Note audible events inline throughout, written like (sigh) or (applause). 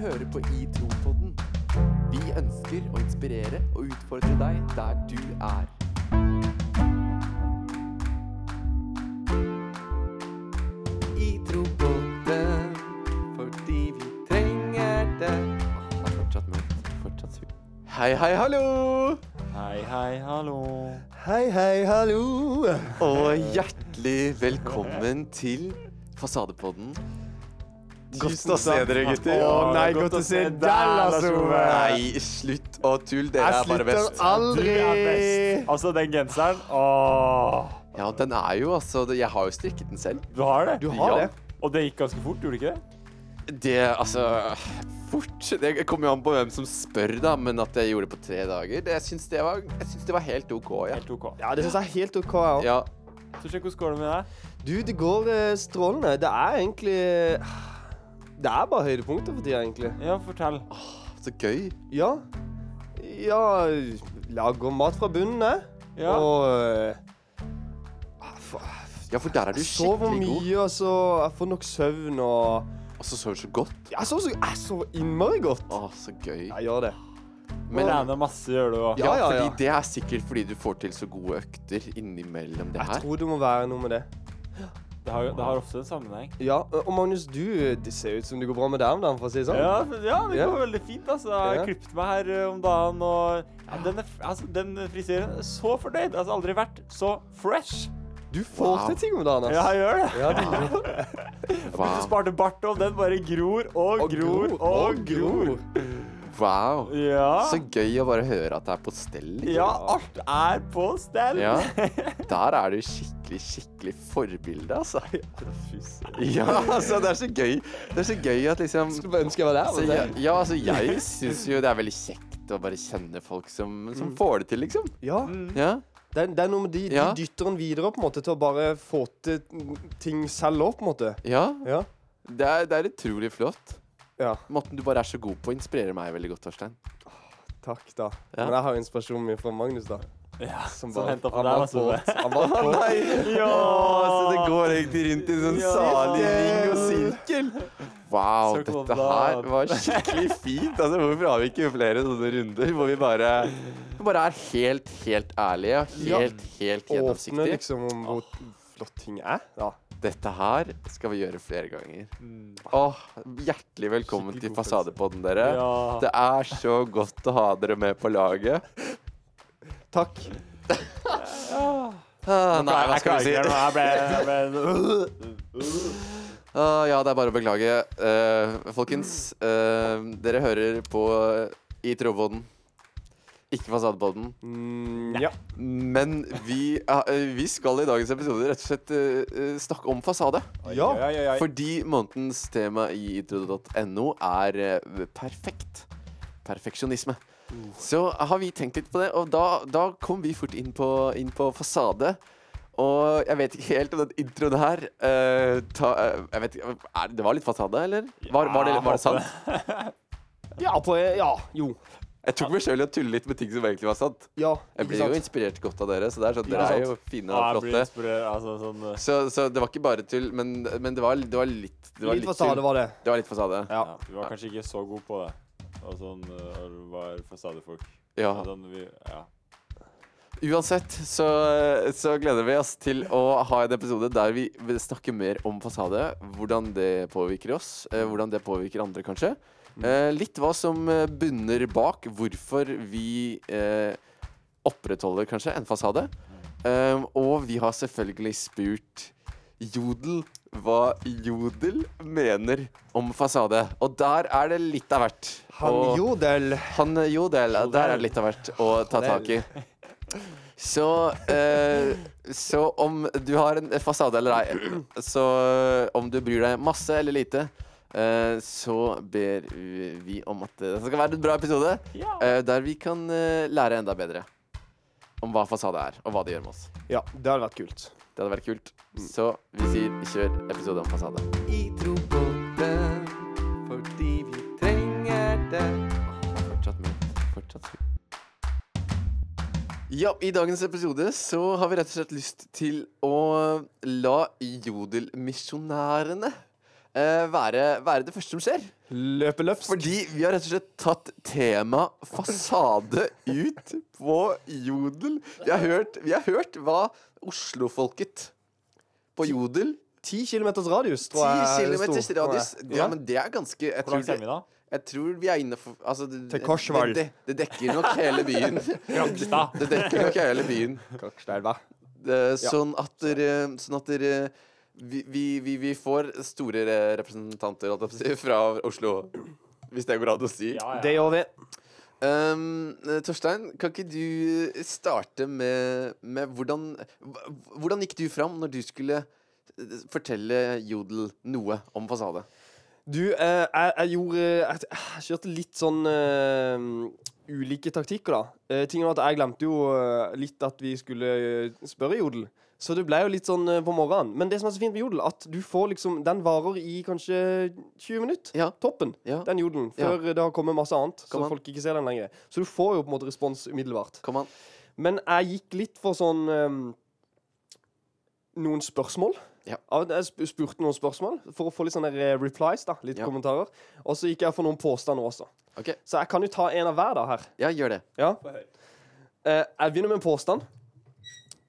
hører på I Tro-podden. Vi ønsker å inspirere og utfordre deg der du er. I Tro-podden, fordi vi trenger det. Åh, det er fortsatt mørkt. Fortsatt surt. Hei, hei, hallo! Hei, hei, hallo. Hei, hei, hallo! Og hjertelig velkommen til Fasadepodden. Godt å se dere, gutter. Å, nei, godt å se deg, Lars Ove. Nei, slutt å tulle. Dere er bare (laughs) best. Du er best. Altså, den genseren Åh. Ja, den er jo altså Jeg har jo strikket den selv. Du har det? Du har Ja. det. Og det gikk ganske fort, gjorde det ikke det? Det altså Fort. Det kommer jo an på hvem som spør, da, men at jeg gjorde det på tre dager, det, jeg syns det, var- jeg syns det var helt OK. Ja. Helt OK. Ja, det syns jeg er helt OK. jeg også. ja. Så sjekk hvordan går det med deg. Du, det går eh, strålende. Det er egentlig Det er bare høydepunkter for tida, egentlig. Ja, fortell. Så gøy. Ja. Ja Lager mat fra bunnen, jeg. Ja. Og eh, ah, Ja, for der er du jeg sover skikkelig god. mye, og så jeg får nok søvn og Og så sover du så godt. Jeg sover så, jeg sover innmari godt. Å, så gøy. Jeg gjør det. Men Trener masse, gjør du òg. Ja, Ja, ja, ja. fordi det er sikkert fordi du får til så gode økter innimellom det Jeg her. tror det må være noe med det. Det, har- det har ofte en sammenheng. Ja, Og Magnus, du Det ser ut som det går bra med deg om dagen, for å si det sånn. Ja, f- ja, det Ja. går veldig fint, altså. Jeg Ja. klippet meg her eh, om dagen, og ja, den, er, f- altså, den frisøren er så fornøyd. Altså, aldri vært så fresh. Du får Wow. til ting om dagen, Ja, altså. jeg gjør det. Ja, du gjør Du Wow. sparte bart, og den bare gror og, gror og gror. wow. Ja. Så gøy å bare høre at det er på stell. liksom. Ja, alt er på stell. (laughs) ja. Der er du skikkelig, skikkelig forbilde, altså. Ja, altså, det er så gøy. Det er så gøy at liksom Skulle bare ønske jeg var der. så men jeg, det- Ja, altså, jeg syns jo det er veldig kjekt å bare kjenne folk som, som får det til, liksom. Ja, Ja. det, er- det er noe med de, Ja. de dytter den videre på en måte til å bare få til ting selv òg, på en måte. ja. Ja. Det er, det er utrolig flott. ja. Måten du bare er så god på, inspirerer meg veldig godt, Torstein. Takk, da. Ja. Men jeg har inspirasjonen min fra Magnus, da. Ja, Som som bare- hentet fra han deg, var altså. kåt. Han var kåt. Ja, så det går egentlig rundt i en sånn Ja. salig ring og sirkel. Wow, Circle of dette her love. var skikkelig fint. Altså, hvorfor har vi ikke flere sånne runder hvor vi bare, (laughs) bare er helt, helt ærlige og Ja. helt, helt Åpne gjennomsiktige? liksom om hvor flott ting er. Ja. Dette her skal vi gjøre flere ganger. Åh, hjertelig velkommen til Skikkelig god følelse. Fasadepodden, dere. Mm. Ja. Det er så godt å ha dere med på laget. Takk. Ah, nei, hva skal vi si? Jeg (laughs) klarer ikke det nå. Jeg ble, jeg ble Ah, ja, det er bare å beklage. Eh, folkens, eh, dere hører på eh, i Trådbåten. Ikke Fasadepodden. Mm, ja. Men vi, eh, vi skal i dagens episode rett og slett eh, eh, snakke om fasade. Ja. Oi, oi, oi. Fordi månedens tema i itro.no er eh, perfekt. Perfeksjonisme. Så har vi tenkt litt på det, og da, da kom vi fort inn på, inn på fasade. Og jeg vet ikke helt om den introen her eh, ta, eh, jeg vet, ikke, er, Det var litt fasade, eller? Var, var, det, var det sant? ja, på Ja, jo. Jeg tok meg sjøl i å tulle litt med ting som egentlig var sant. Ja, Jeg ikke blir jo sant? inspirert godt av dere, så det er sånn, Ikke dere er jo sant? fine Ja, og jeg blir flotte. inspirert. Altså, sånn eh, Så, så det var ikke bare tull, men, men det, var, det var litt Det var Litt litt, fasade tull. var det. Det var litt fasade. Ja. ja, Du var kanskje ikke så god på det. Og sånn eh, og var fasadefolk. Ja. Og Sånn, vi, ja. Uansett så, så gleder vi oss til å ha en episode der vi snakker mer om fasade. Hvordan det påvirker oss, eh, hvordan det påvirker andre, kanskje. Eh, Litt hva som eh, bunner bak hvorfor vi eh, opprettholder kanskje en fasade. Eh, og vi har selvfølgelig spurt Jodel hva Jodel mener om fasade. Og der er det litt av hvert. Han Og- Jodel. han eh, Jodel, eh, der er det litt av hvert å ta Jodel. tak i. Så, eh, så om du har en fasade eller ei, så eh, om du bryr deg masse eller lite, eh, så ber vi vi om at det skal være en bra episode Ja. eh, der vi kan eh, lære enda bedre om hva fasade er, og hva det gjør med oss. Ja, det hadde vært kult. Det hadde vært kult. Så vi sier kjør episode om fasade. Mm. I tro på den, fordi vi trenger det. Fortsatt mørkt. Fortsatt mørkt. Ja, i dagens episode så har vi rett og slett lyst til å la jodelmisjonærene eh, være, være det første som skjer. Løpe løpsk. Fordi vi har rett og slett tatt tema fasade ut på Jodel. Vi har hørt, vi har hørt hva Oslofolket på Jodel Ti kilometers radius, 10 tror jeg. er kilometers stor. radius. Ja, Ja. men det er ganske Jeg Hvor tror, langt er vi det, da? jeg tror vi er innenfor altså, det, Til Korsvoll. Det, det, det dekker nok hele byen. Krakstad. Det dekker nok hele byen. Kakselva. Eh, Sånn at dere Sånn at dere vi, vi, vi, vi får store eh, representanter holdt jeg på å si, fra Oslo, hvis det går an å si. Ja, Det ja. gjør vi. Um, eh, Torstein, kan ikke du eh, starte med, med hvordan hva- Hvordan gikk du fram når du skulle eh, fortelle Jodel noe om fasade? Du, eh, jeg, jeg gjorde Jeg, jeg kjørte litt sånn eh, ulike taktikker, da. Eh, tingen var at Jeg glemte jo eh, litt at vi skulle eh, spørre Jodel. Så det ble jo litt sånn eh, på morgenen. Men det som er så fint med Jodel, at du får liksom Den varer i kanskje 20 minutter. Ja. Toppen. Ja. Den jodelen. Ja. Før det har kommet masse annet, Kom så an. folk ikke ser den lenger. Så du får jo på en måte respons umiddelbart. Kom an. Men jeg gikk litt for sånn ehm, Noen spørsmål. Ja. Av- Jeg sp- spurte noen spørsmål for å få litt sånne eh, replies. da, Litt Ja. kommentarer. Og så gikk jeg for noen påstander også. Ok. Så jeg kan jo ta en av hver da her. Ja, gjør det. Ja. Få høre. Eh, jeg begynner med en påstand.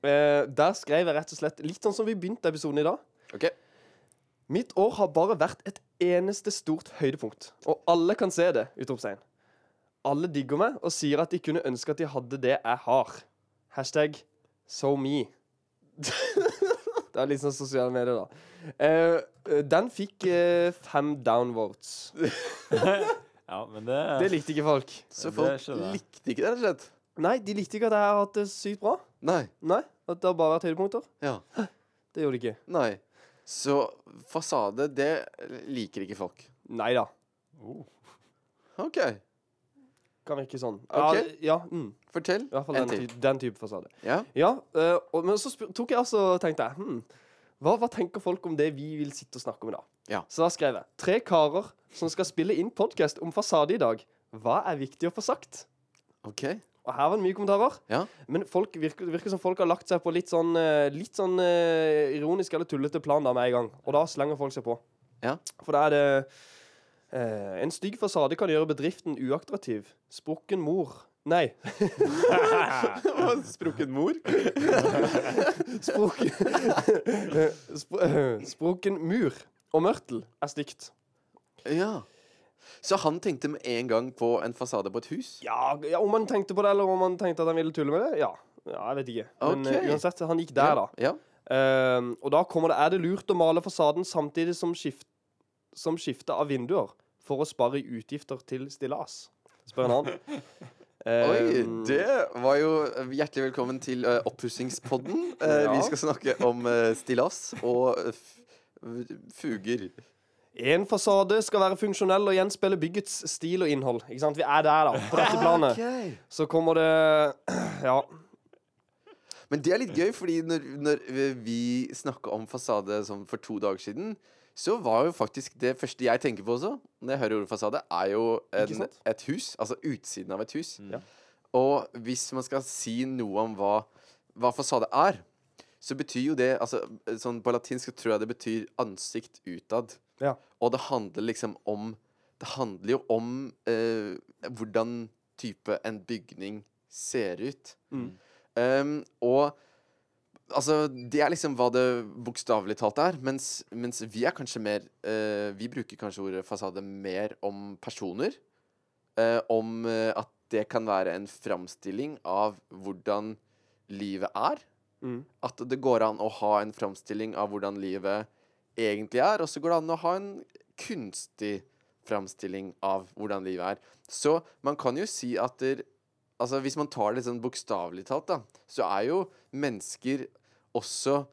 Eh, der skrev jeg rett og slett litt sånn som vi begynte episoden i dag. Ok. Mitt år har bare vært et eneste stort høydepunkt, og alle kan se det! utropstegn. Alle digger meg og sier at de kunne ønske at de hadde det jeg har. Hashtag so me. det er litt sånn sosiale medier, da. Eh, den fikk eh, fem downvotes. (laughs) ja, men det, Det likte ikke folk. Så Det folk skjønner jeg. likte ikke det, rett og slett? Nei, de likte ikke at jeg har hatt det sykt bra. Nei. Nei, At det har bare vært høydepunkter. Ja. Det gjorde de ikke. Nei. Så fasade, det eh, liker ikke folk. Nei da. Oh. OK. Kan virke sånn. Ok. Ja, ja, mm, Fortell I hvert fall en den, til. ty den type fasade. Ja. Ja, eh, og, men så spur- tok jeg altså og tenkte jeg, hmm, hva, hva tenker folk om det vi vil sitte og snakke om i dag? Ja. Så da skrev jeg tre karer som skal spille inn podkast om fasade i dag. Hva er viktig å få sagt? OK. Og her var det mye kommentarer. Ja. Men folk virker, det virker som folk har lagt seg på litt sånn, eh, litt sånn eh, ironisk eller tullete plan da med en gang. Og da slenger folk seg på. Ja. For da er det eh, En stygg fasade kan gjøre bedriften uattraktiv. Sprukken mor Nei. (laughs) Sprukket mor? (laughs) Sprukken Spr (laughs) eh, Sprukken mur og mørtel er stygt. Ja. Så han tenkte med en gang på en fasade på et hus? Ja, ja, om han tenkte på det, eller om han tenkte at han ville tulle med det? Ja, ja jeg vet ikke. Men eh, Ok. uansett, han gikk der, da. Ja. Ehm, og da kommer det Er det lurt å male fasaden samtidig som, skift, som skifte av vinduer for å spare utgifter til stillas? Spør en (laughs) annen. Oi, Ehm, det var jo Hjertelig velkommen til uh, oppussingspodden. Eh, Ja. Vi skal snakke om eh, stillas og eh, f fuger. En fasade skal være funksjonell og gjenspeile byggets stil og innhold. Ikke sant? Vi er der, da. På dette planet. Så kommer det (clears throat) Ja. Men det er litt gøy, fordi når, når vi snakka om fasade sånn for to dager siden, så var jo faktisk det første jeg tenker på også, når jeg hører ordet fasade, er jo Ikke en, sant? Mm. et hus. Altså utsiden av et hus. Ja. Og hvis man skal si noe om hva, hva fasade er, så betyr jo det altså, sånn På latinsk så tror jeg det betyr ansikt utad. Ja. Og det handler liksom om Det handler jo om eh, hvordan type en bygning ser ut. Mm. Um, og Altså, det er liksom hva det bokstavelig talt er, mens, mens vi er kanskje mer eh, Vi bruker kanskje ordet fasade mer om personer. eh, om eh, at det kan være en framstilling av hvordan livet er. Mm. At det går an å ha en framstilling av hvordan livet egentlig er, og så går det an å ha en kunstig framstilling av hvordan livet er. Så man kan jo si at der, altså Hvis man tar det sånn bokstavelig talt, da, så er jo mennesker også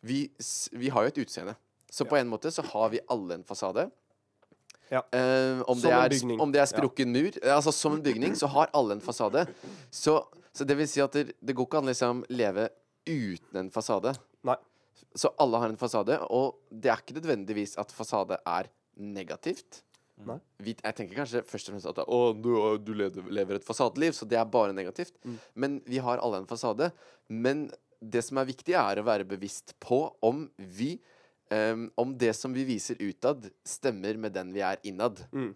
Vi, s- vi har jo et utseende. Så på en måte så har vi alle en fasade. Ja. Eh, om, Som det en er, bygning. om det er sprukken mur eh, Altså Som en bygning så har alle en fasade. Så, så det vil si at der, det går ikke an å liksom leve uten en fasade. Nei. Så alle har en fasade, og det er ikke nødvendigvis at fasade er negativt. Nei. Vi, jeg tenker kanskje først og fremst at å, du, å, du lever, lever et fasadeliv, så det er bare negativt. Mm. Men vi har alle en fasade. Men det som er viktig, er å være bevisst på om vi em, om det som vi viser utad, stemmer med den vi er innad. Mm.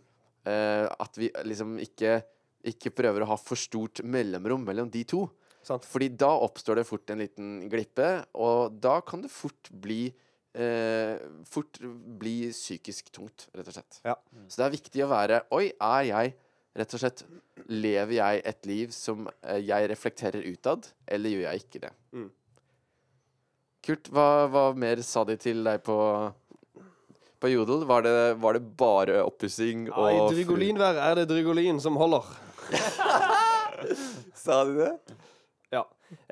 Eh, at vi liksom ikke, ikke prøver å ha for stort mellomrom mellom de to. Sant. Fordi da oppstår det fort en liten glippe, og da kan det fort bli eh, Fort bli psykisk tungt, rett og slett. Ja. Så det er viktig å være Oi, er jeg Rett og slett Lever jeg et liv som eh, jeg reflekterer utad, eller gjør jeg ikke det? Mm. Kurt, hva, hva mer sa de til deg på på Jodel? Var det, var det bare oppussing og I fru- Drygolinvær er det Drygolin som holder. Sa de det? Ja.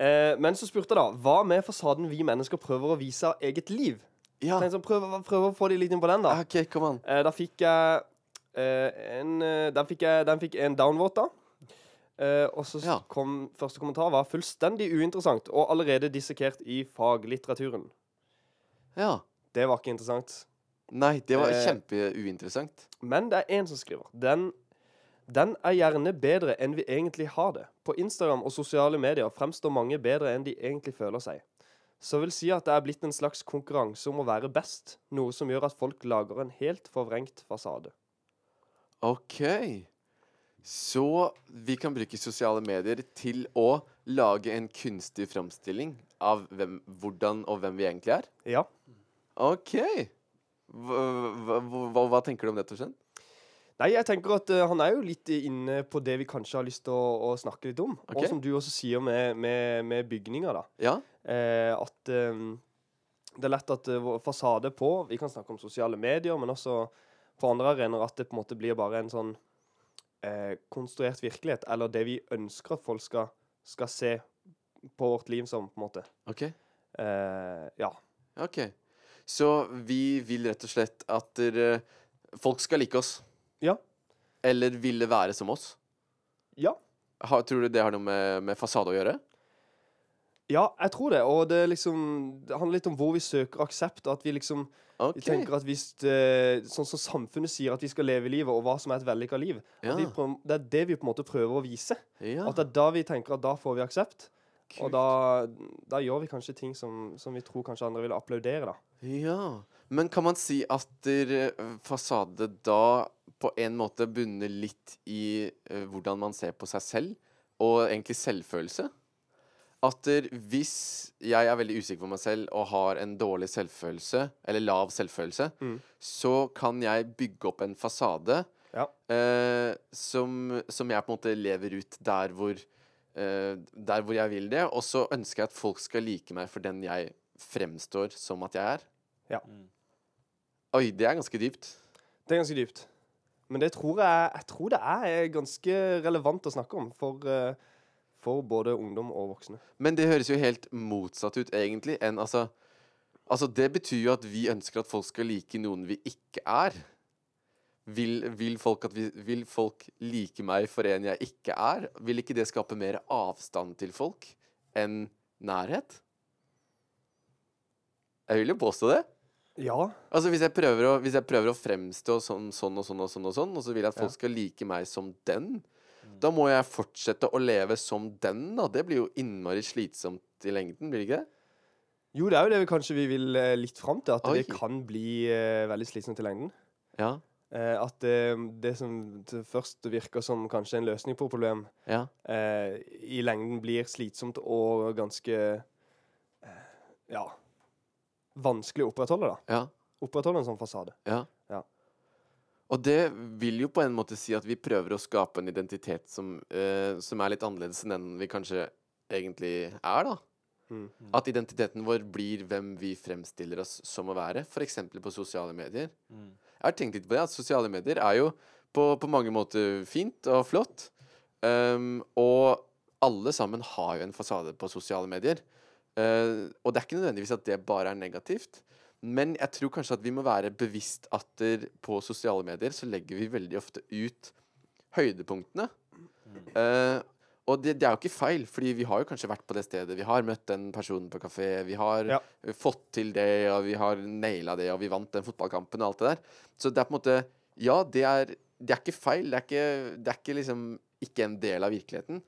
Eh, men så spurte jeg da hva med fasaden vi mennesker prøver å vise av eget liv. Ja. Tenkte sånn, prøv, prøv å få de litt inn på den, da. OK, kom an. Eh, da fikk jeg eh, en eh, Den fikk jeg den fikk en downvote, da. Eh, og så s- Ja. kom første kommentar var fullstendig uinteressant og allerede dissekert i faglitteraturen. Ja. Det var ikke interessant. Nei, det var Eh, kjempeuinteressant. Men det er én som skriver. Den, den er gjerne bedre enn vi egentlig har det. På Instagram og sosiale medier fremstår mange bedre enn de egentlig føler seg. Så vil si at det er blitt en slags konkurranse om å være best, noe som gjør at folk lager en helt forvrengt fasade. OK. Så vi kan bruke sosiale medier til å lage en kunstig framstilling av hvem, hvordan og hvem vi egentlig er? Ja. OK. Hva, hva, hva, hva tenker du om det, Torstein? Nei, jeg tenker at eh, han er jo litt inne på det vi kanskje har lyst til å, å snakke litt om. Ok. Og som du også sier med, med, med bygninger, da. Ja? eh, at eh, det er lett at eh, vår fasade på Vi kan snakke om sosiale medier, men også på andre arenaer at det på en måte blir bare en sånn eh, konstruert virkelighet, eller det vi ønsker at folk skal, skal se på vårt liv som, på en måte. OK. Eh, ja. ok Så vi vil rett og slett at dere- folk skal like oss? Ja. Eller ville være som oss? Ja. Ha, tror du det har noe med, med fasade å gjøre? Ja, jeg tror det. Og det, er liksom, det handler litt om hvor vi søker aksept. og At vi liksom OK. vi tenker at hvis det, Sånn som samfunnet sier at vi skal leve livet, og hva som er et vellykka liv. at Ja. Vi prøver, det er det vi på en måte prøver å vise. ja. At det er da vi tenker at da får vi aksept. Og kult. da, da gjør vi kanskje ting som, som vi tror kanskje andre vil applaudere, da. Ja, men kan man si at der, eh, fasade da på en måte bunner litt i eh, hvordan man ser på seg selv, og egentlig selvfølelse? At der, hvis jeg er veldig usikker på meg selv og har en dårlig selvfølelse, eller lav selvfølelse, Mm. så kan jeg bygge opp en fasade Ja. eh, som, som jeg på en måte lever ut der hvor, eh, der hvor jeg vil det, og så ønsker jeg at folk skal like meg for den jeg fremstår som at jeg er. Mm. Oi, det er ganske dypt. Det er ganske dypt. Men det tror jeg, jeg tror det er ganske relevant å snakke om for, eh, for både ungdom og voksne. Men det høres jo helt motsatt ut, egentlig, enn altså Altså, det betyr jo at vi ønsker at folk skal like noen vi ikke er. Vil, vil, folk, at vi, vil folk like meg for en jeg ikke er? Vil ikke det skape mer avstand til folk enn nærhet? Jeg vil jo påstå det. Ja. Altså hvis jeg, prøver å, hvis jeg prøver å fremstå som sånn og sånn og sånn, og sånn Og så vil jeg at folk Ja. skal like meg som den, da må jeg fortsette å leve som den. Da. Det blir jo innmari slitsomt i lengden, blir det ikke det? Jo, det er jo det vi kanskje vi vil eh, litt fram til, at Oi. det kan bli eh, veldig slitsomt i lengden. Ja. Eh, at eh, det som t- først virker som kanskje en løsning på problem, ja. eh, i lengden blir slitsomt og ganske eh, ja, vanskelig å opprettholde, da. ja. opprettholde en sånn fasade. Og det vil jo på en måte si at vi prøver å skape en identitet som, eh, som er litt annerledes enn den vi kanskje egentlig er, da. Mm. At identiteten vår blir hvem vi fremstiller oss som å være, f.eks. på sosiale medier. Mm. Jeg har tenkt litt på det, at sosiale medier er jo på, på mange måter fint og flott. Ehm, og alle sammen har jo en fasade på sosiale medier. Eh, og det er ikke nødvendigvis at det bare er negativt. Men jeg tror kanskje at vi må være bevisst at der, på sosiale medier så legger vi veldig ofte ut høydepunktene. Eh, og det, det er jo ikke feil, Fordi vi har jo kanskje vært på det stedet. Vi har møtt den personen på kafé. Vi har Ja. fått til det, og vi har naila det, og vi vant den fotballkampen og alt det der. Så det er på en måte Ja, det er, det er ikke feil. Det er ikke, det er ikke liksom ikke en del av virkeligheten.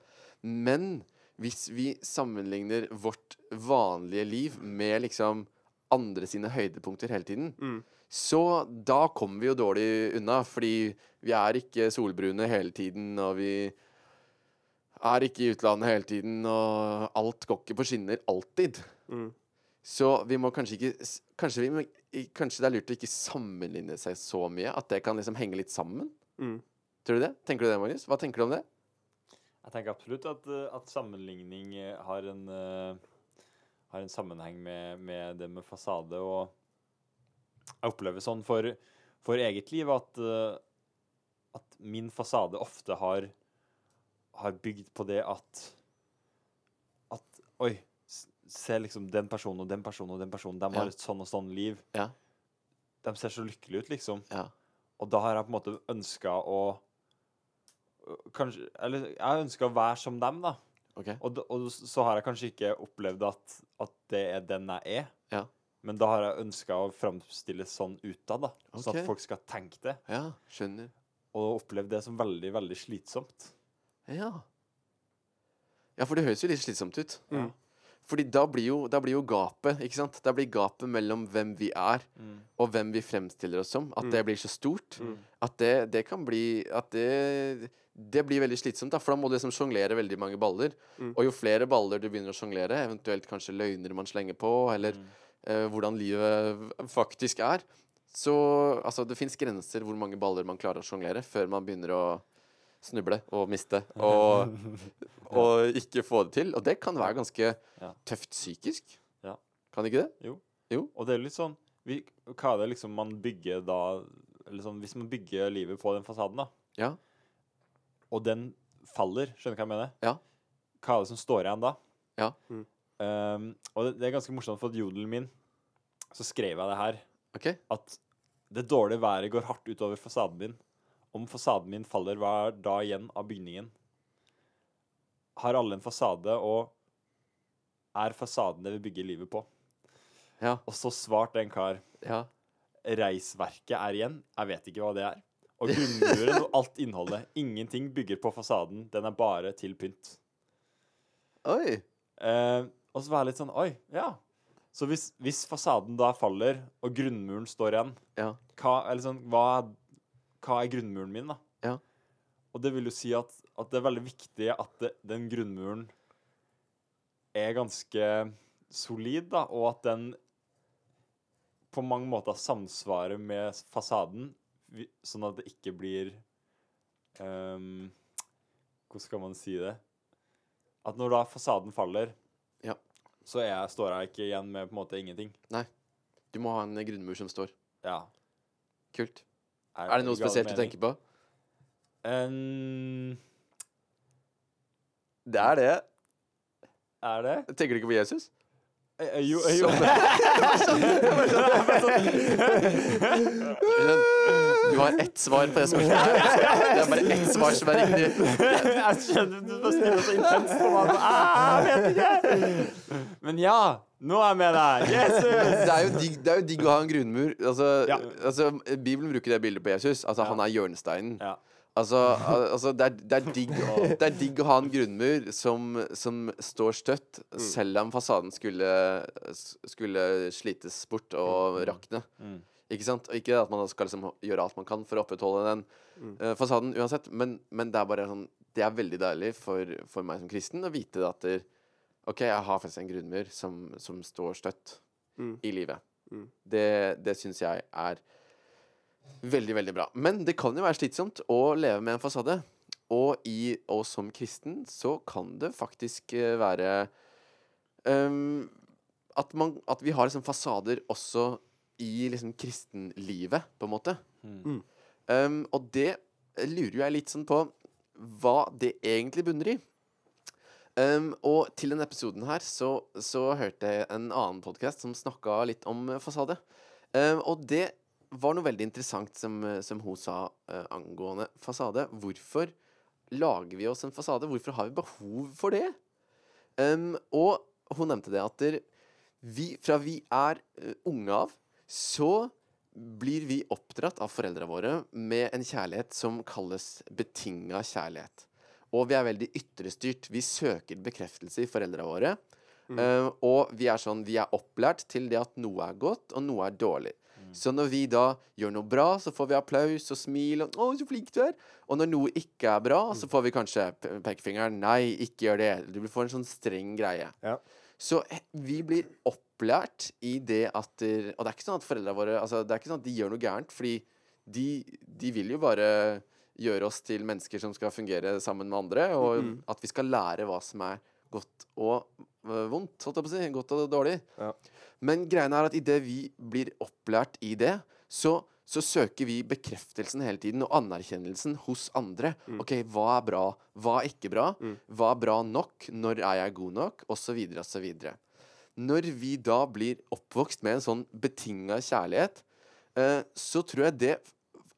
Men hvis vi sammenligner vårt vanlige liv med liksom andre sine høydepunkter hele tiden. Mm. Så da kommer vi jo dårlig unna, fordi vi er ikke solbrune hele tiden, og vi er ikke i utlandet hele tiden, og alt går ikke på skinner alltid. Mm. Så vi må kanskje ikke s- Kanskje, vi må, i- kanskje det er lurt å ikke sammenligne seg så mye, at det kan liksom henge litt sammen? Mm. Tror du det? Tenker du det, Magnus? Hva tenker du om det? Jeg tenker absolutt at, eh, at sammenligning eh, har en, eh, har en sammenheng med, med det med fasade. Og jeg opplever sånn for, for eget liv at, eh, at min fasade ofte har, har bygd på det at At Oi, s- se liksom den personen og den personen og den personen. De Ja. har et sånn og sånn liv. Ja. De ser så lykkelige ut, liksom. Ja. Og da har jeg på en måte ønska å Kanskje Eller jeg ønska å være som dem, da. Ok. Og, da- og så har jeg kanskje ikke opplevd at, at det er den jeg er. Ja. Men da har jeg ønska å framstille sånn utad, da. Sånn Ok. at folk skal tenke det. Ja, skjønner. Og oppleve det som veldig, veldig slitsomt. Ja. Ja, for det høres jo litt slitsomt ut. Mm. Fordi da blir jo, da blir jo gapet, ikke sant? Da blir gapet mellom hvem vi er, og hvem vi fremstiller oss som, at Mm. det blir så stort. Mm. At det, det kan bli At det, det blir veldig slitsomt, da, for da må du liksom sjonglere veldig mange baller. Mm. Og jo flere baller du begynner å sjonglere, eventuelt kanskje løgner man slenger på, eller Mm. eh, hvordan livet faktisk er, så Altså, det fins grenser hvor mange baller man klarer å sjonglere før man begynner å snuble og miste (laughs) og, og ikke få det til. Og det kan være ganske Ja. tøft psykisk. Ja. Kan det ikke det? Og det er jo litt sånn vi, Hva er det liksom man bygger da eller sånn, Hvis man bygger livet på den fasaden, da, Ja. og den faller, skjønner du hva jeg mener? Ja. Hva er det som står igjen da? Ja. Mm. Ehm, og det, det er ganske morsomt, for at jodelen min, så skrev jeg det her, OK? at det dårlige været går hardt utover fasaden min. Om fasaden min faller, hva er da igjen av bygningen? Har alle en fasade, og er fasaden det vi bygger livet på? Ja. Og så svarte en kar Ja. reisverket er igjen. Jeg vet ikke hva det er. Og (laughs) grunnmuren og alt innholdet. Ingenting bygger på fasaden. Den er bare til pynt. Oi! Eh, og så var jeg litt sånn Oi, ja. Så hvis, hvis fasaden da faller, og grunnmuren står igjen, Ja. hva, eller sånn, hva, hva er grunnmuren min, da? Ja. Og det vil jo si at, at det er veldig viktig at det, den grunnmuren er ganske solid, da, og at den på mange måter samsvarer med fasaden, vi- sånn at det ikke blir ehm, Hvordan skal man si det? At når da fasaden faller, Ja. så er jeg, står jeg ikke igjen med på en måte ingenting. Du må ha en grunnmur som står. Ja. Kult. Er det noe spesielt du tenker på? Ehm, Det er det. er det? Tenker du ikke på Jesus? Eh, eh, Jo, eh, jo. (laughs) sånn- Du har ett svar på det (laughs) spørsmålet. Det er bare ett svar som er riktig. (laughs) Jeg skjønner du beskriver det så intenst på meg. Ah, jeg vet ikke. Men ja, nå er jeg med deg. Jesus! Det er jo digg, det er jo digg å ha en grunnmur. Altså, Ja. altså, Bibelen bruker det bildet på Jesus. Altså, Ja. Han er hjørnesteinen. Ja. Altså, al- altså det, er, det, er digg, å- det er digg å ha en grunnmur som, som står støtt, Mm. selv om fasaden skulle, s- skulle slites bort og rakne. Mm. Ikke sant? Og ikke at man skal liksom gjøre alt man kan for å opprettholde den Mm. eh, fasaden uansett, men, men det er bare sånn Det er veldig deilig for, for meg som kristen å vite det at det- OK, jeg har faktisk en grunnmur som, som står støtt Mm. i livet. Mm. Det, det syns jeg er Veldig, veldig bra. Men det kan jo være slitsomt å leve med en fasade. Og, i, og som kristen så kan det faktisk eh, være øhm, at, man, at vi har liksom fasader også i liksom kristenlivet, på en måte. Mm. Øhm, og det lurer jo jeg litt sånn på hva det egentlig bunner i. Øhm, og til denne episoden her så, så hørte jeg en annen podkast som snakka litt om eh, fasade. Øhm, og det var noe veldig interessant som, eh, som hun sa eh, angående fasade. Hvorfor lager vi oss en fasade? Hvorfor har vi behov for det? Em, og hun nevnte det at der, vi, fra vi er eh, unge av, så blir vi oppdratt av foreldra våre med en kjærlighet som kalles betinga kjærlighet. Og vi er veldig ytrestyrt. Vi søker bekreftelse i foreldra våre. Eh, og vi er sånn, vi er opplært til det at noe er godt, og noe er dårlig. Så når vi da gjør noe bra, så får vi applaus og smil og 'Å, så flink du er'. Og når noe ikke er bra, så får vi kanskje pe- pekefingeren. 'Nei, ikke gjør det.' Du får en sånn streng greie. Ja. Så eh, vi blir opplært i det at der, Og det er ikke sånn at foreldrene våre altså, Det er ikke sånn at de gjør noe gærent, fordi de, de vil jo bare gjøre oss til mennesker som skal fungere sammen med andre, og at vi skal lære hva som er godt og øh, vondt, holdt jeg på å si. Godt og dårlig. Ja. Men greia er at idet vi blir opplært i det, så, så søker vi bekreftelsen hele tiden og anerkjennelsen hos andre. OK, hva er bra? Hva er ikke bra? Hva er bra nok? Når er jeg god nok? Og så videre og så videre. Når vi da blir oppvokst med en sånn betinga kjærlighet, eh, så tror jeg det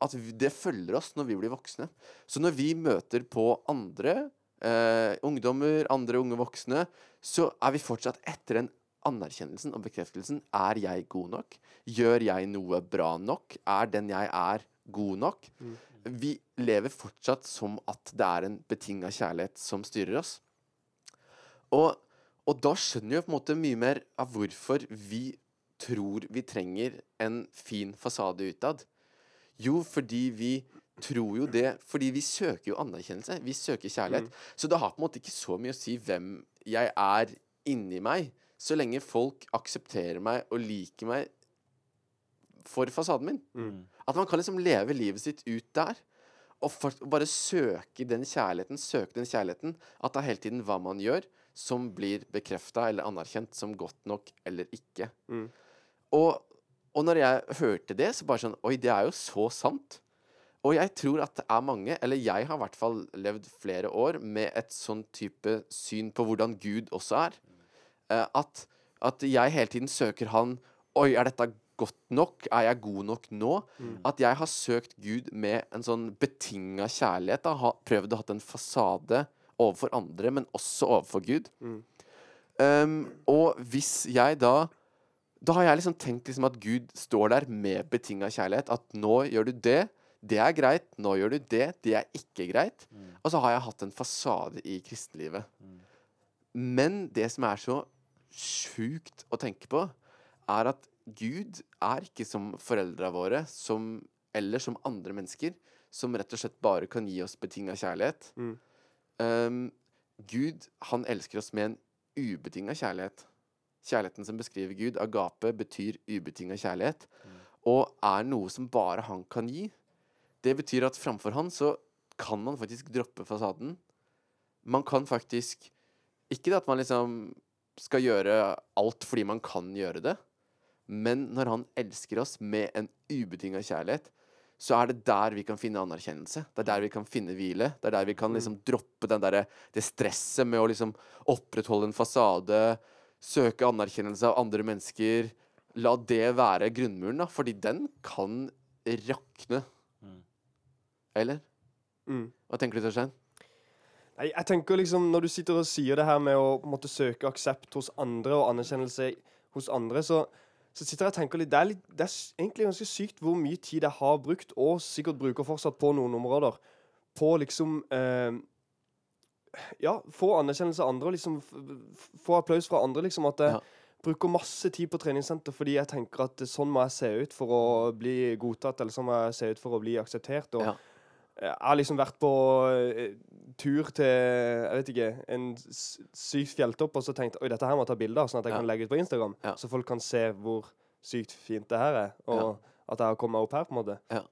at vi- det følger oss når vi blir voksne. Så når vi møter på andre eh, ungdommer, andre unge voksne, så er vi fortsatt etter den anerkjennelsen og bekreftelsen. Er jeg god nok? Gjør jeg noe bra nok? Er den jeg er, god nok? Vi lever fortsatt som at det er en betinga kjærlighet som styrer oss. Og, og da skjønner vi på en måte mye mer av hvorfor vi tror vi trenger en fin fasade utad. Jo, fordi vi tror jo det Fordi vi søker jo anerkjennelse. Vi søker kjærlighet. Så det har på en måte ikke så mye å si hvem jeg er inni meg, så lenge folk aksepterer meg og liker meg for fasaden min. Mm. At man kan liksom leve livet sitt ut der. Og fort- og bare søke den kjærligheten, søke den kjærligheten. At det er hele tiden hva man gjør, som blir bekrefta eller anerkjent som godt nok eller ikke. Mm. Og, og når jeg hørte det, så bare sånn Oi, det er jo så sant. Og jeg tror at det er mange, eller jeg har i hvert fall levd flere år med et sånn type syn på hvordan Gud også er. Eh, at, at jeg hele tiden søker han Oi, er dette godt nok? Er jeg god nok nå? At jeg har søkt Gud med en sånn betinga kjærlighet. Da. Ha, prøvd å ha en fasade overfor andre, men også overfor Gud. Um, og hvis jeg da Da har jeg liksom tenkt liksom at Gud står der med betinga kjærlighet. At nå gjør du det. Det er greit. Nå gjør du det. Det er ikke greit. Og så har jeg hatt en fasade i kristenlivet. Men det som er så sjukt å tenke på, er at Gud er ikke som foreldra våre som, eller som andre mennesker, som rett og slett bare kan gi oss betinga kjærlighet. Mm. Um, Gud, han elsker oss med en ubetinga kjærlighet. Kjærligheten som beskriver Gud, agape, betyr ubetinga kjærlighet, og er noe som bare han kan gi. Det betyr at framfor han så kan man faktisk droppe fasaden. Man kan faktisk Ikke det at man liksom skal gjøre alt fordi man kan gjøre det, men når han elsker oss med en ubetinga kjærlighet, så er det der vi kan finne anerkjennelse. Det er der vi kan finne hvile. Det er der vi kan liksom droppe den derre- det stresset med å liksom opprettholde en fasade, søke anerkjennelse av andre mennesker. La det være grunnmuren, da, fordi den kan rakne. Mm. Eller? Mm. Hva tenker du, Torstein? Nei, jeg tenker liksom, Når du sitter og sier det her med å på en måte søke aksept hos andre og anerkjennelse hos andre, så, så sitter jeg og tenker litt det er, litt det er s- egentlig ganske sykt hvor mye tid jeg har brukt, og sikkert bruker fortsatt på noen områder, på liksom eh, Ja, få anerkjennelse av andre, og liksom f- f- få applaus fra andre, liksom. At jeg Ja. bruker masse tid på treningssenter fordi jeg tenker at sånn må jeg se ut for å bli godtatt, eller sånn må jeg se ut for å bli akseptert. og Ja. jeg har liksom vært på eh, tur til jeg vet ikke, en s- syk fjelltopp og så tenkt oi, dette her må jeg ta bilde av, sånn at jeg Ja. kan legge ut på Instagram. Ja. Så folk kan se hvor sykt fint det her er, og at jeg har kommet opp her, på en måte. Ja.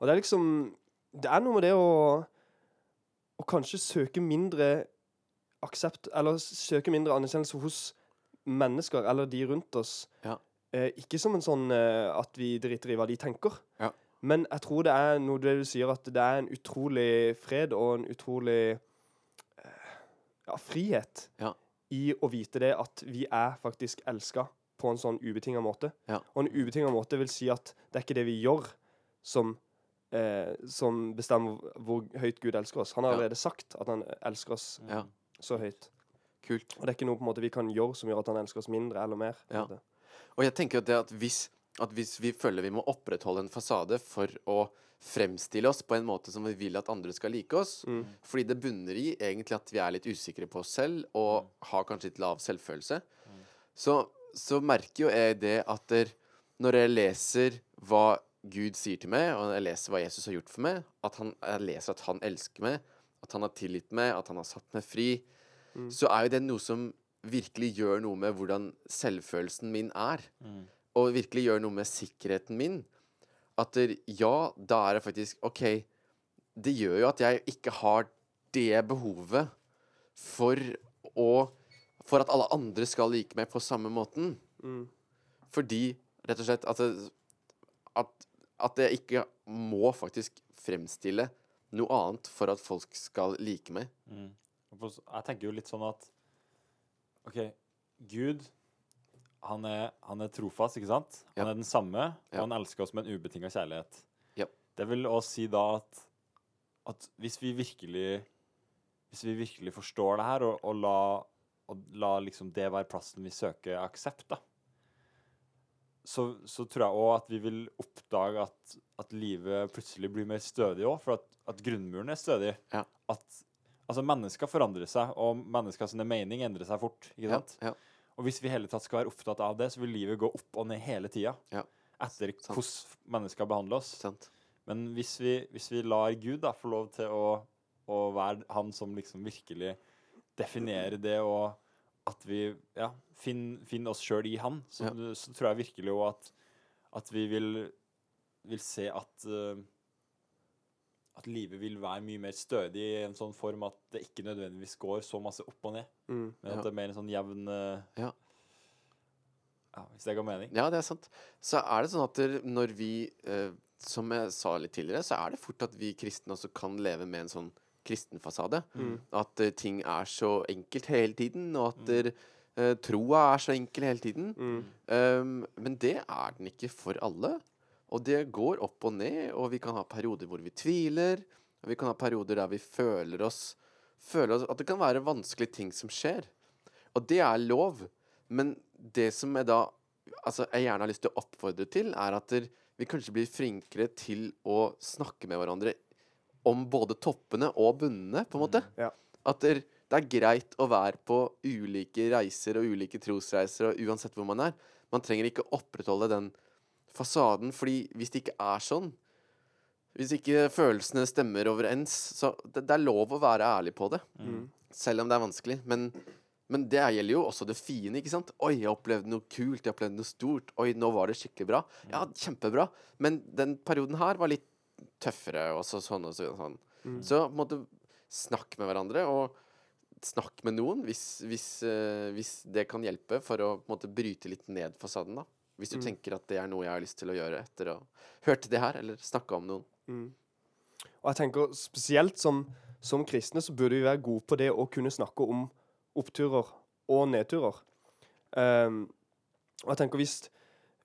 Og det er liksom Det er noe med det å, å kanskje søke mindre aksept, eller søke mindre anerkjennelse hos mennesker eller de rundt oss. Ja. Eh, ikke som en sånn eh, at vi driter i hva de tenker. Ja. Men jeg tror det er noe det du sier, at det er en utrolig fred og en utrolig eh, ja, frihet Ja. i å vite det at vi er faktisk elska på en sånn ubetinga måte. Ja. Og en ubetinga måte vil si at det er ikke det vi gjør, som, eh, som bestemmer hvor høyt Gud elsker oss. Han har Ja. allerede sagt at han elsker oss Ja. så høyt. Kult. Og det er ikke noe på en måte vi kan gjøre som gjør at han elsker oss mindre eller mer. på en Ja. måte. Og jeg tenker at det at hvis at hvis vi føler vi må opprettholde en fasade for å fremstille oss på en måte som vi vil at andre skal like oss, Mm. fordi det bunner i egentlig at vi er litt usikre på oss selv og har kanskje litt lav selvfølelse, så, så merker jo jeg det at der, når jeg leser hva Gud sier til meg, og jeg leser hva Jesus har gjort for meg, at han, jeg leser at han elsker meg, at han har tilgitt meg, at han har satt meg fri, så er jo det noe som virkelig gjør noe med hvordan selvfølelsen min er. Mm. Og virkelig gjør noe med sikkerheten min. At der, ja, da er det faktisk OK, det gjør jo at jeg ikke har det behovet for å For at alle andre skal like meg på samme måten. Mm. Fordi, rett og slett, at, det- at, at jeg ikke må faktisk fremstille noe annet for at folk skal like meg. Mm. Og på s- Jeg tenker jo litt sånn at OK, Gud han er, han er trofast, ikke sant? Han Ja. er den samme, og Ja. han elsker oss med en ubetinga kjærlighet. Ja. Det vil også si da at, at hvis vi virkelig Hvis vi virkelig forstår det her, og, og, la, og la liksom det være plassen vi søker aksept, da, så, så tror jeg òg at vi vil oppdage at, at livet plutselig blir mer stødig òg, for at, at grunnmuren er stødig. Ja. At Altså, mennesker forandrer seg, og mennesker sine mening endrer seg fort. ikke Ja, sant? ja. Og hvis vi hele tatt skal være opptatt av det, så vil livet gå opp og ned hele tida. Ja. Etter Sant. hvordan mennesker behandler oss. Sant. Men hvis vi, hvis vi lar Gud da få lov til å, å være han som liksom virkelig definerer det, og at vi ja, finner finn oss sjøl i han, så, så tror jeg virkelig òg at, at vi vil, vil se at eh, at livet vil være mye mer stødig i en sånn form at det ikke nødvendigvis går så masse opp og ned. Mm. Men Ja. at det er mer en sånn jevn eh, Ja. ja, Hvis det ga mening? Ja, det er sant. Så er det sånn at der- når vi, eh, som jeg sa litt tidligere, så er det fort at vi kristne også kan leve med en sånn kristen fasade. At eh, ting er så enkelt hele tiden, og at der, eh, troa er så enkel hele tiden. Mm. Um, men det er den ikke for alle. Og det går opp og ned, og vi kan ha perioder hvor vi tviler, og vi kan ha perioder der vi føler oss Føler oss at det kan være vanskelige ting som skjer. Og det er lov. Men det som jeg da altså jeg gjerne har lyst til å oppfordre til, er at der, vi kanskje blir flinkere til å snakke med hverandre om både toppene og bunnene, på en måte. Ja. At der, det er greit å være på ulike reiser og ulike trosreiser og uansett hvor man er. Man trenger ikke opprettholde den fasaden, fordi hvis det ikke er sånn Hvis ikke følelsene stemmer overens, så det, det er lov å være ærlig på det. Mm. Selv om det er vanskelig. Men, men det gjelder jo også det fine. ikke sant? Oi, jeg opplevde noe kult. Jeg opplevde noe stort. Oi, nå var det skikkelig bra. Ja, kjempebra. Men den perioden her var litt tøffere, og så sånn og så- sånn. Så på en måte snakk med hverandre, og snakk med noen hvis, hvis, eh, hvis det kan hjelpe for å på en måte bryte litt ned fasaden, da. Hvis du Mm. tenker at det er noe jeg har lyst til å gjøre etter å ha hørt det her, eller snakka om noen. Mm. Og jeg tenker spesielt som, som kristne så burde vi være gode på det å kunne snakke om oppturer og nedturer. Ehm, og jeg tenker hvis,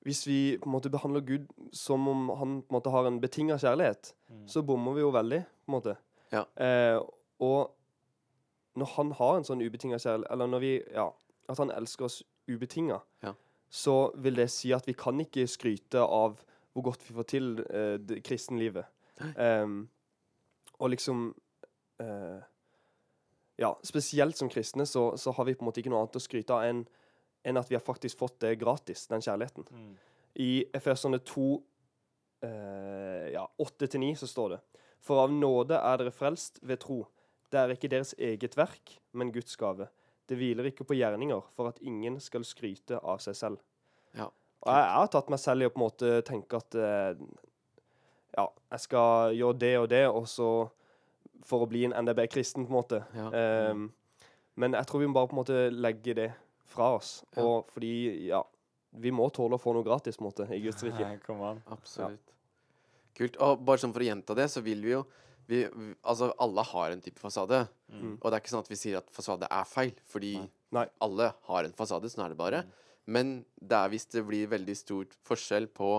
hvis vi på en måte behandler Gud som om han på en måte har en betinga kjærlighet, så bommer vi jo veldig, på en måte. Ja. Eh, og når han har en sånn ubetinga kjærlighet, eller når vi Ja, at han elsker oss ubetinga, Ja. så vil det si at vi kan ikke skryte av hvor godt vi får til eh, det kristenlivet. Em, og liksom eh, Ja, spesielt som kristne så, så har vi på en måte ikke noe annet å skryte av enn enn at vi har faktisk fått det gratis, den kjærligheten. Mm. I Efeserne 2, eh, ja, 8-9, så står det For av nåde er dere frelst ved tro. Det er ikke deres eget verk, men Guds gave. Det hviler ikke på gjerninger for at ingen skal skryte av seg selv. Ja, Og jeg, jeg har tatt meg selv i å på en måte tenke at eh, ja, jeg skal gjøre det og det, og så for å bli en NDB-kristen, på en måte. Ja. Ehm, men jeg tror vi må bare på en måte legge det fra oss. Ja. Og fordi, ja Vi må tåle å få noe gratis, på en måte, i Guds rike. Kom an. Absolutt. Kult. Og bare sånn for å gjenta det, så vil vi jo vi, vi- Altså, alle har en type fasade. Og det er ikke sånn at vi sier at fasade er feil, fordi Nei. alle har en fasade, sånn er det bare. Men det er hvis det blir veldig stort forskjell på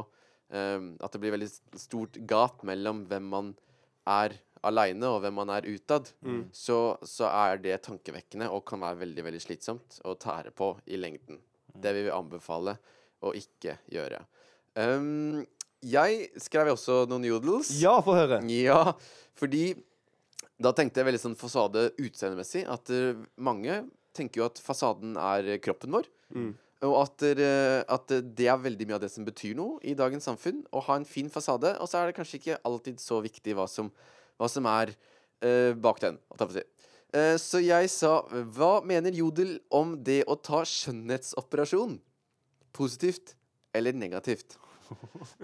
ehm, At det blir veldig s- stort gap mellom hvem man er aleine, og hvem man er utad, så, så er det tankevekkende og kan være veldig, veldig slitsomt å tære på i lengden. Det vil vi anbefale å ikke gjøre. Um, jeg skrev også noen jodels. Ja, få høre. Ja, fordi da tenkte jeg veldig sånn fasade utseendemessig. At eh, mange tenker jo at fasaden er eh, kroppen vår. Mm. Og at, eh, at eh, det er veldig mye av det som betyr noe i dagens samfunn. Å ha en fin fasade. Og så er det kanskje ikke alltid så viktig hva som, hva som er eh, bak den. holdt jeg på å si. Eh, så jeg sa Hva mener Jodel om det å ta skjønnhetsoperasjon? Positivt eller negativt?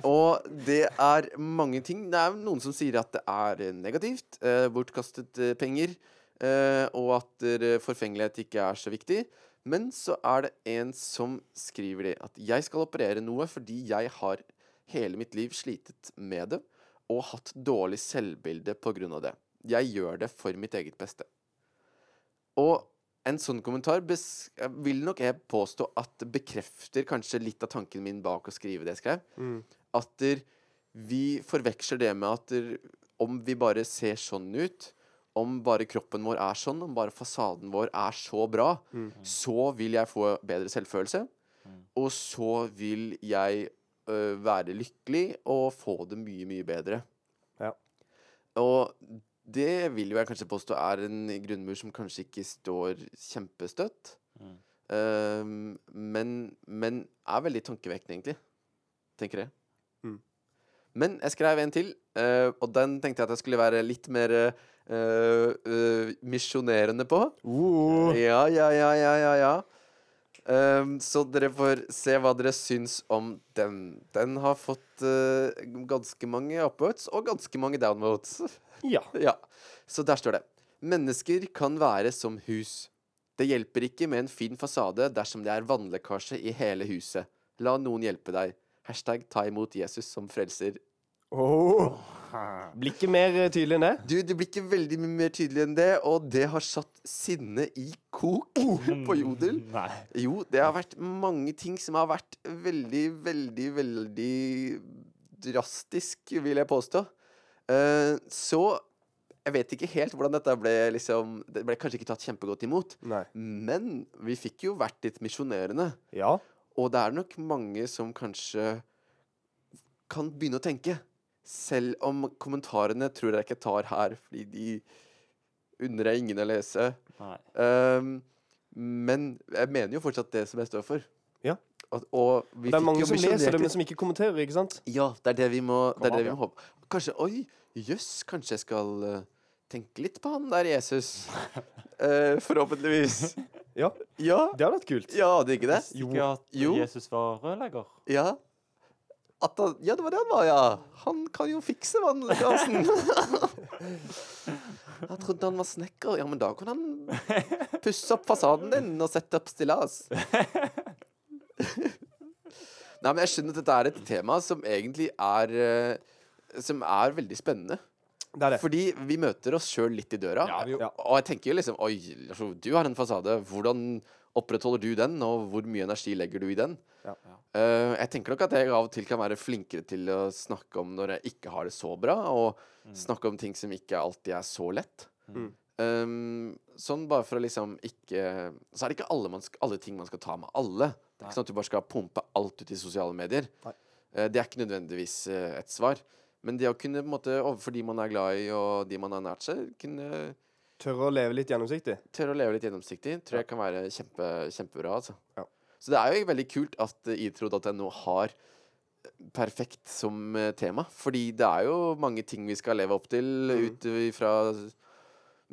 Og det er mange ting. Det er noen som sier at det er negativt. eh, bortkastet eh, penger. eh, og at eh, forfengelighet ikke er så viktig. Men så er det en som skriver det. At jeg skal operere noe fordi jeg har hele mitt liv slitet med det og hatt dårlig selvbilde pga. det. Jeg gjør det for mitt eget beste. Og en sånn kommentar bes vil nok jeg påstå at bekrefter kanskje litt av tanken min bak å skrive det jeg skrev Mm. at der, vi forveksler det med at der, om vi bare ser sånn ut, om bare kroppen vår er sånn, om bare fasaden vår er så bra, Mm. så vil jeg få bedre selvfølelse. Mm. Og så vil jeg ø, være lykkelig og få det mye, mye bedre. Ja. Og det vil jo jeg kanskje påstå er en grunnmur som kanskje ikke står kjempestøtt. Mm. Ehm, men, men er veldig tankevekkende, egentlig. Tenker jeg. Mm. Men jeg skrev en til, eh, og den tenkte jeg at jeg skulle være litt mer eh, eh, misjonerende på. Uh. Ja, ja, ja, ja, ja, ja. Ehm, så dere får se hva dere syns om den. Den har fått eh, ganske mange upvotes og ganske mange downvotes. (laughs) Ja. Ja, så der står det. Mennesker kan være som hus. Det hjelper ikke med en fin fasade dersom det er vannlekkasje i hele huset. La noen hjelpe deg. Hashtag ta imot Jesus som frelser. Oh. Blir ikke mer eh, tydelig enn det. Du, det blir ikke veldig mye mer tydelig enn det, og det har satt sinnet i kok på Jodel. Nei. Jo, det har vært mange ting som har vært veldig, veldig, veldig drastisk, vil jeg påstå. Eh, så jeg vet ikke helt hvordan dette ble liksom Det ble kanskje ikke tatt kjempegodt imot, Nei. men vi fikk jo vært litt misjonerende. Ja. Og det er nok mange som kanskje kan begynne å tenke. Selv om kommentarene tror jeg ikke jeg tar her, fordi de unner jeg ingen å lese. Nei. Ehm, men jeg mener jo fortsatt det som jeg står for. Ja. At, og vi Det er fikk mange jo som misjonert leser det, litt. men som ikke kommenterer, ikke sant? Ja, det er det vi må, det er Kom det vi an, må håpe. Kanskje Oi, jøss, kanskje jeg skal eh, tenke litt på han der (laughs) Jesus. Eh, forhåpentligvis. Ja. Ja, Det hadde vært kult. ja hadde ikke det? Jo. Jo. at Jo. Jesus var rørlegger. Ja. At han, ja, det var det han var, ja. Han kan jo fikse vannlekkasen. Jeg trodde han var snekker. Ja, men da kan han pusse opp fasaden din og sette opp stillas. Nei, men jeg skjønner at dette er et tema som egentlig er eh, Som er veldig spennende. Det er det. Fordi vi møter oss sjøl litt i døra. Ja, vi jo. Ja. Og jeg tenker jo liksom Oi, Lars Ove, du har en fasade. Hvordan opprettholder du den, og hvor mye energi legger du i den? Ja. Eh, jeg tenker nok at jeg av og til kan være flinkere til å snakke om når jeg ikke har det så bra, og snakke om ting som ikke alltid er så lett. Mm. Um, sånn bare for å liksom ikke Så er det ikke alle, man sk alle ting man skal ta med alle. Det er Nei. ikke sånn at du bare skal pumpe alt ut i sosiale medier. Nei. Eh, det er ikke nødvendigvis eh, et svar. Men det å kunne på en måte overfor de man er glad i, og de man har nært seg, kunne Tørre å leve litt gjennomsiktig. tørre å leve litt gjennomsiktig, tror jeg kan være kjempe, kjempebra. Altså. Ja. Så det er jo veldig kult at eh, itro.no har eh, perfekt som eh, tema. Fordi det er jo mange ting vi skal leve opp til Mm. ut fra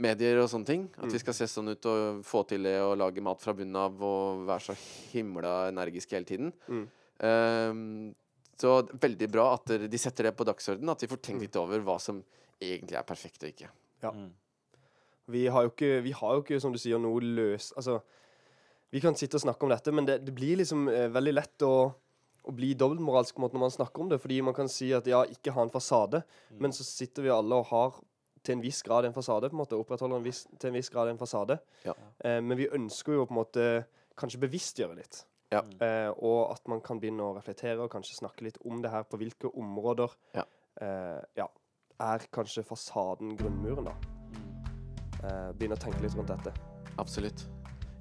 medier og sånne ting. Mm. At vi skal se sånn ut og få til det og lage mat fra bunnen av og være så himla energiske hele tiden. Mm. Ehm, så d- veldig bra at dere- de setter det på dagsordenen, at vi får tenkt Mm. litt over hva som egentlig er perfekt og ikke. Mm. Vi har jo ikke, vi har jo ikke som du sier, noe løs... Altså, vi kan sitte og snakke om dette, men det, det blir liksom eh, veldig lett å, å bli dobbeltmoralsk på en måte når man snakker om det, fordi man kan si at ja, ikke ha en fasade, men så sitter vi alle og har til en viss grad en fasade, på en måte, opprettholder en viss, til en viss grad en fasade. Ja. Eh, men vi ønsker jo på en måte kanskje bevisstgjøre litt. Ja. Eh, og at man kan begynne å reflektere og kanskje snakke litt om det her, på hvilke områder Ja. Eh, ja, er kanskje fasaden grunnmuren, da eh, begynne å tenke litt rundt dette. Absolutt.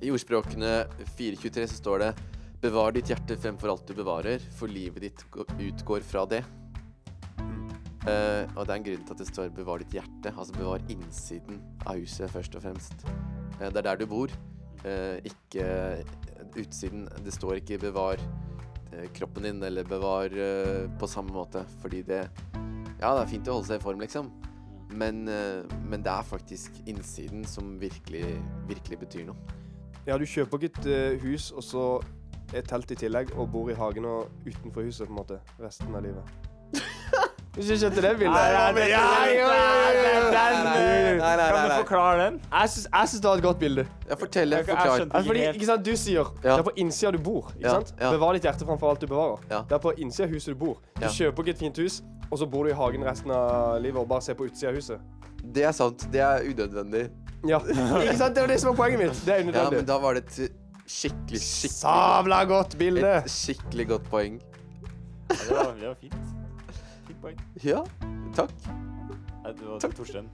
I ordspråkene 423 så står det Bevar ditt hjerte fremfor alt du bevarer, for livet ditt gå- utgår fra det. Eh, og det er en grunn til at det står 'bevar ditt hjerte', altså bevar innsiden av huset først og fremst. Eh, det er der du bor, eh, ikke utsiden. Det står ikke 'bevar eh, kroppen din' eller 'bevar eh, på samme måte', fordi det Ja, det er fint å holde seg i form, liksom, men, eh, men det er faktisk innsiden som virkelig, virkelig betyr noe. Ja, du kjøper ikke et eh, hus, og så et telt i tillegg, og bor i hagen og utenfor huset, på en måte, resten av livet. Hvis du skjønte det bildet? Nei, nei, nei, nei, nei, nei, nei, Kan du nei. forklare den? Jeg syns jeg syns det var et godt bilde. Ja, fortell, Jeg- jeg forklar. skjønte Altså, fordi, helt- ikke sant, Du sier det er på innsida du bor. ikke Ja, sant? ja. Bevar ditt hjerte framfor alt du bevarer. Ja. Det er på innsida av huset du bor. Du Ja. kjøper ikke et fint hus, og så bor du i hagen resten av livet og bare ser på utsida av huset. Det er sant. Det er unødvendig. (laughs) Ja, ikke sant? Det var det som var poenget mitt. Det er Ja, men unødvendig. da var det et skikkelig, skikkelig, Sabla godt bilde! et skikkelig godt poeng. Ja, det, var, det var fint. Fint poeng. Ja, takk. Nei, Det var Torstein.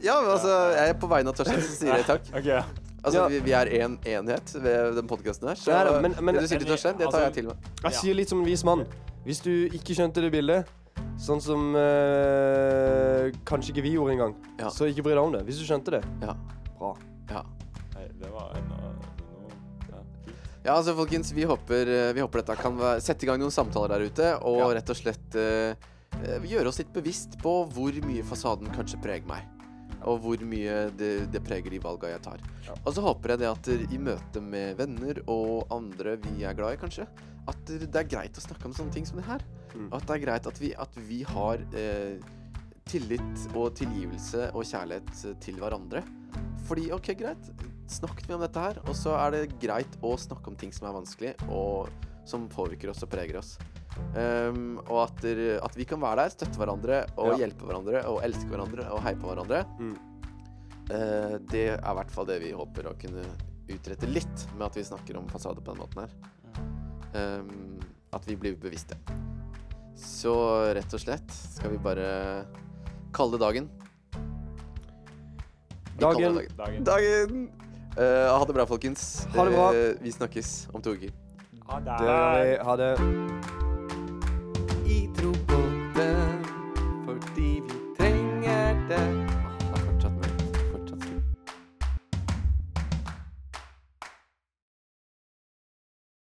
Ja, men altså, jeg er på vegne av Torstein, så sier jeg takk. Ok, ja. Altså, Ja. vi, vi er én en enhet ved den podkasten her, så Ja, da, men- men- det du sier til Torstein, det tar jeg til meg. Jeg sier litt som en vis mann. Hvis du ikke skjønte det bildet, sånn som eh, kanskje ikke vi gjorde engang, Ja. så ikke bry deg om det. Hvis du skjønte det, Ja. bra. ja. Nei, det var en av- noe- ja, fint. Ja, altså folkens, vi håper, eh, vi håper dette kan være, sette i gang noen samtaler der ute, og Ja. rett og slett eh, eh, gjøre oss litt bevisst på hvor mye fasaden kanskje preger meg. Og hvor mye det, det preger de valga jeg tar. Ja. Og så håper jeg det at eh, i møte med venner og andre vi er glad i, kanskje, at eh, det er greit å snakke om sånne ting som det her. Mm. Og at det er greit at vi, at vi har eh, tillit og tilgivelse og kjærlighet eh, til hverandre. Fordi, ok, greit, snakket vi om dette her, og så er det greit å snakke om ting som er vanskelig, og som påvirker oss og preger oss. Ehm, og at, der, at vi kan være der, støtte hverandre, og Ja. hjelpe hverandre, og elske hverandre, og heie på hverandre. Mm. Eh, det er i hvert fall det vi håper å kunne utrette litt, med at vi snakker om fasade på den måten her. Ehm, at vi blir bevisste. Så rett og slett skal vi bare kalle det dagen. Vi kaller det Dagen. Dagen. Dagen! Eh, ha det bra, folkens. Ha det bra. Eh, vi snakkes om to uker. Ha Det gjør vi. Ha det.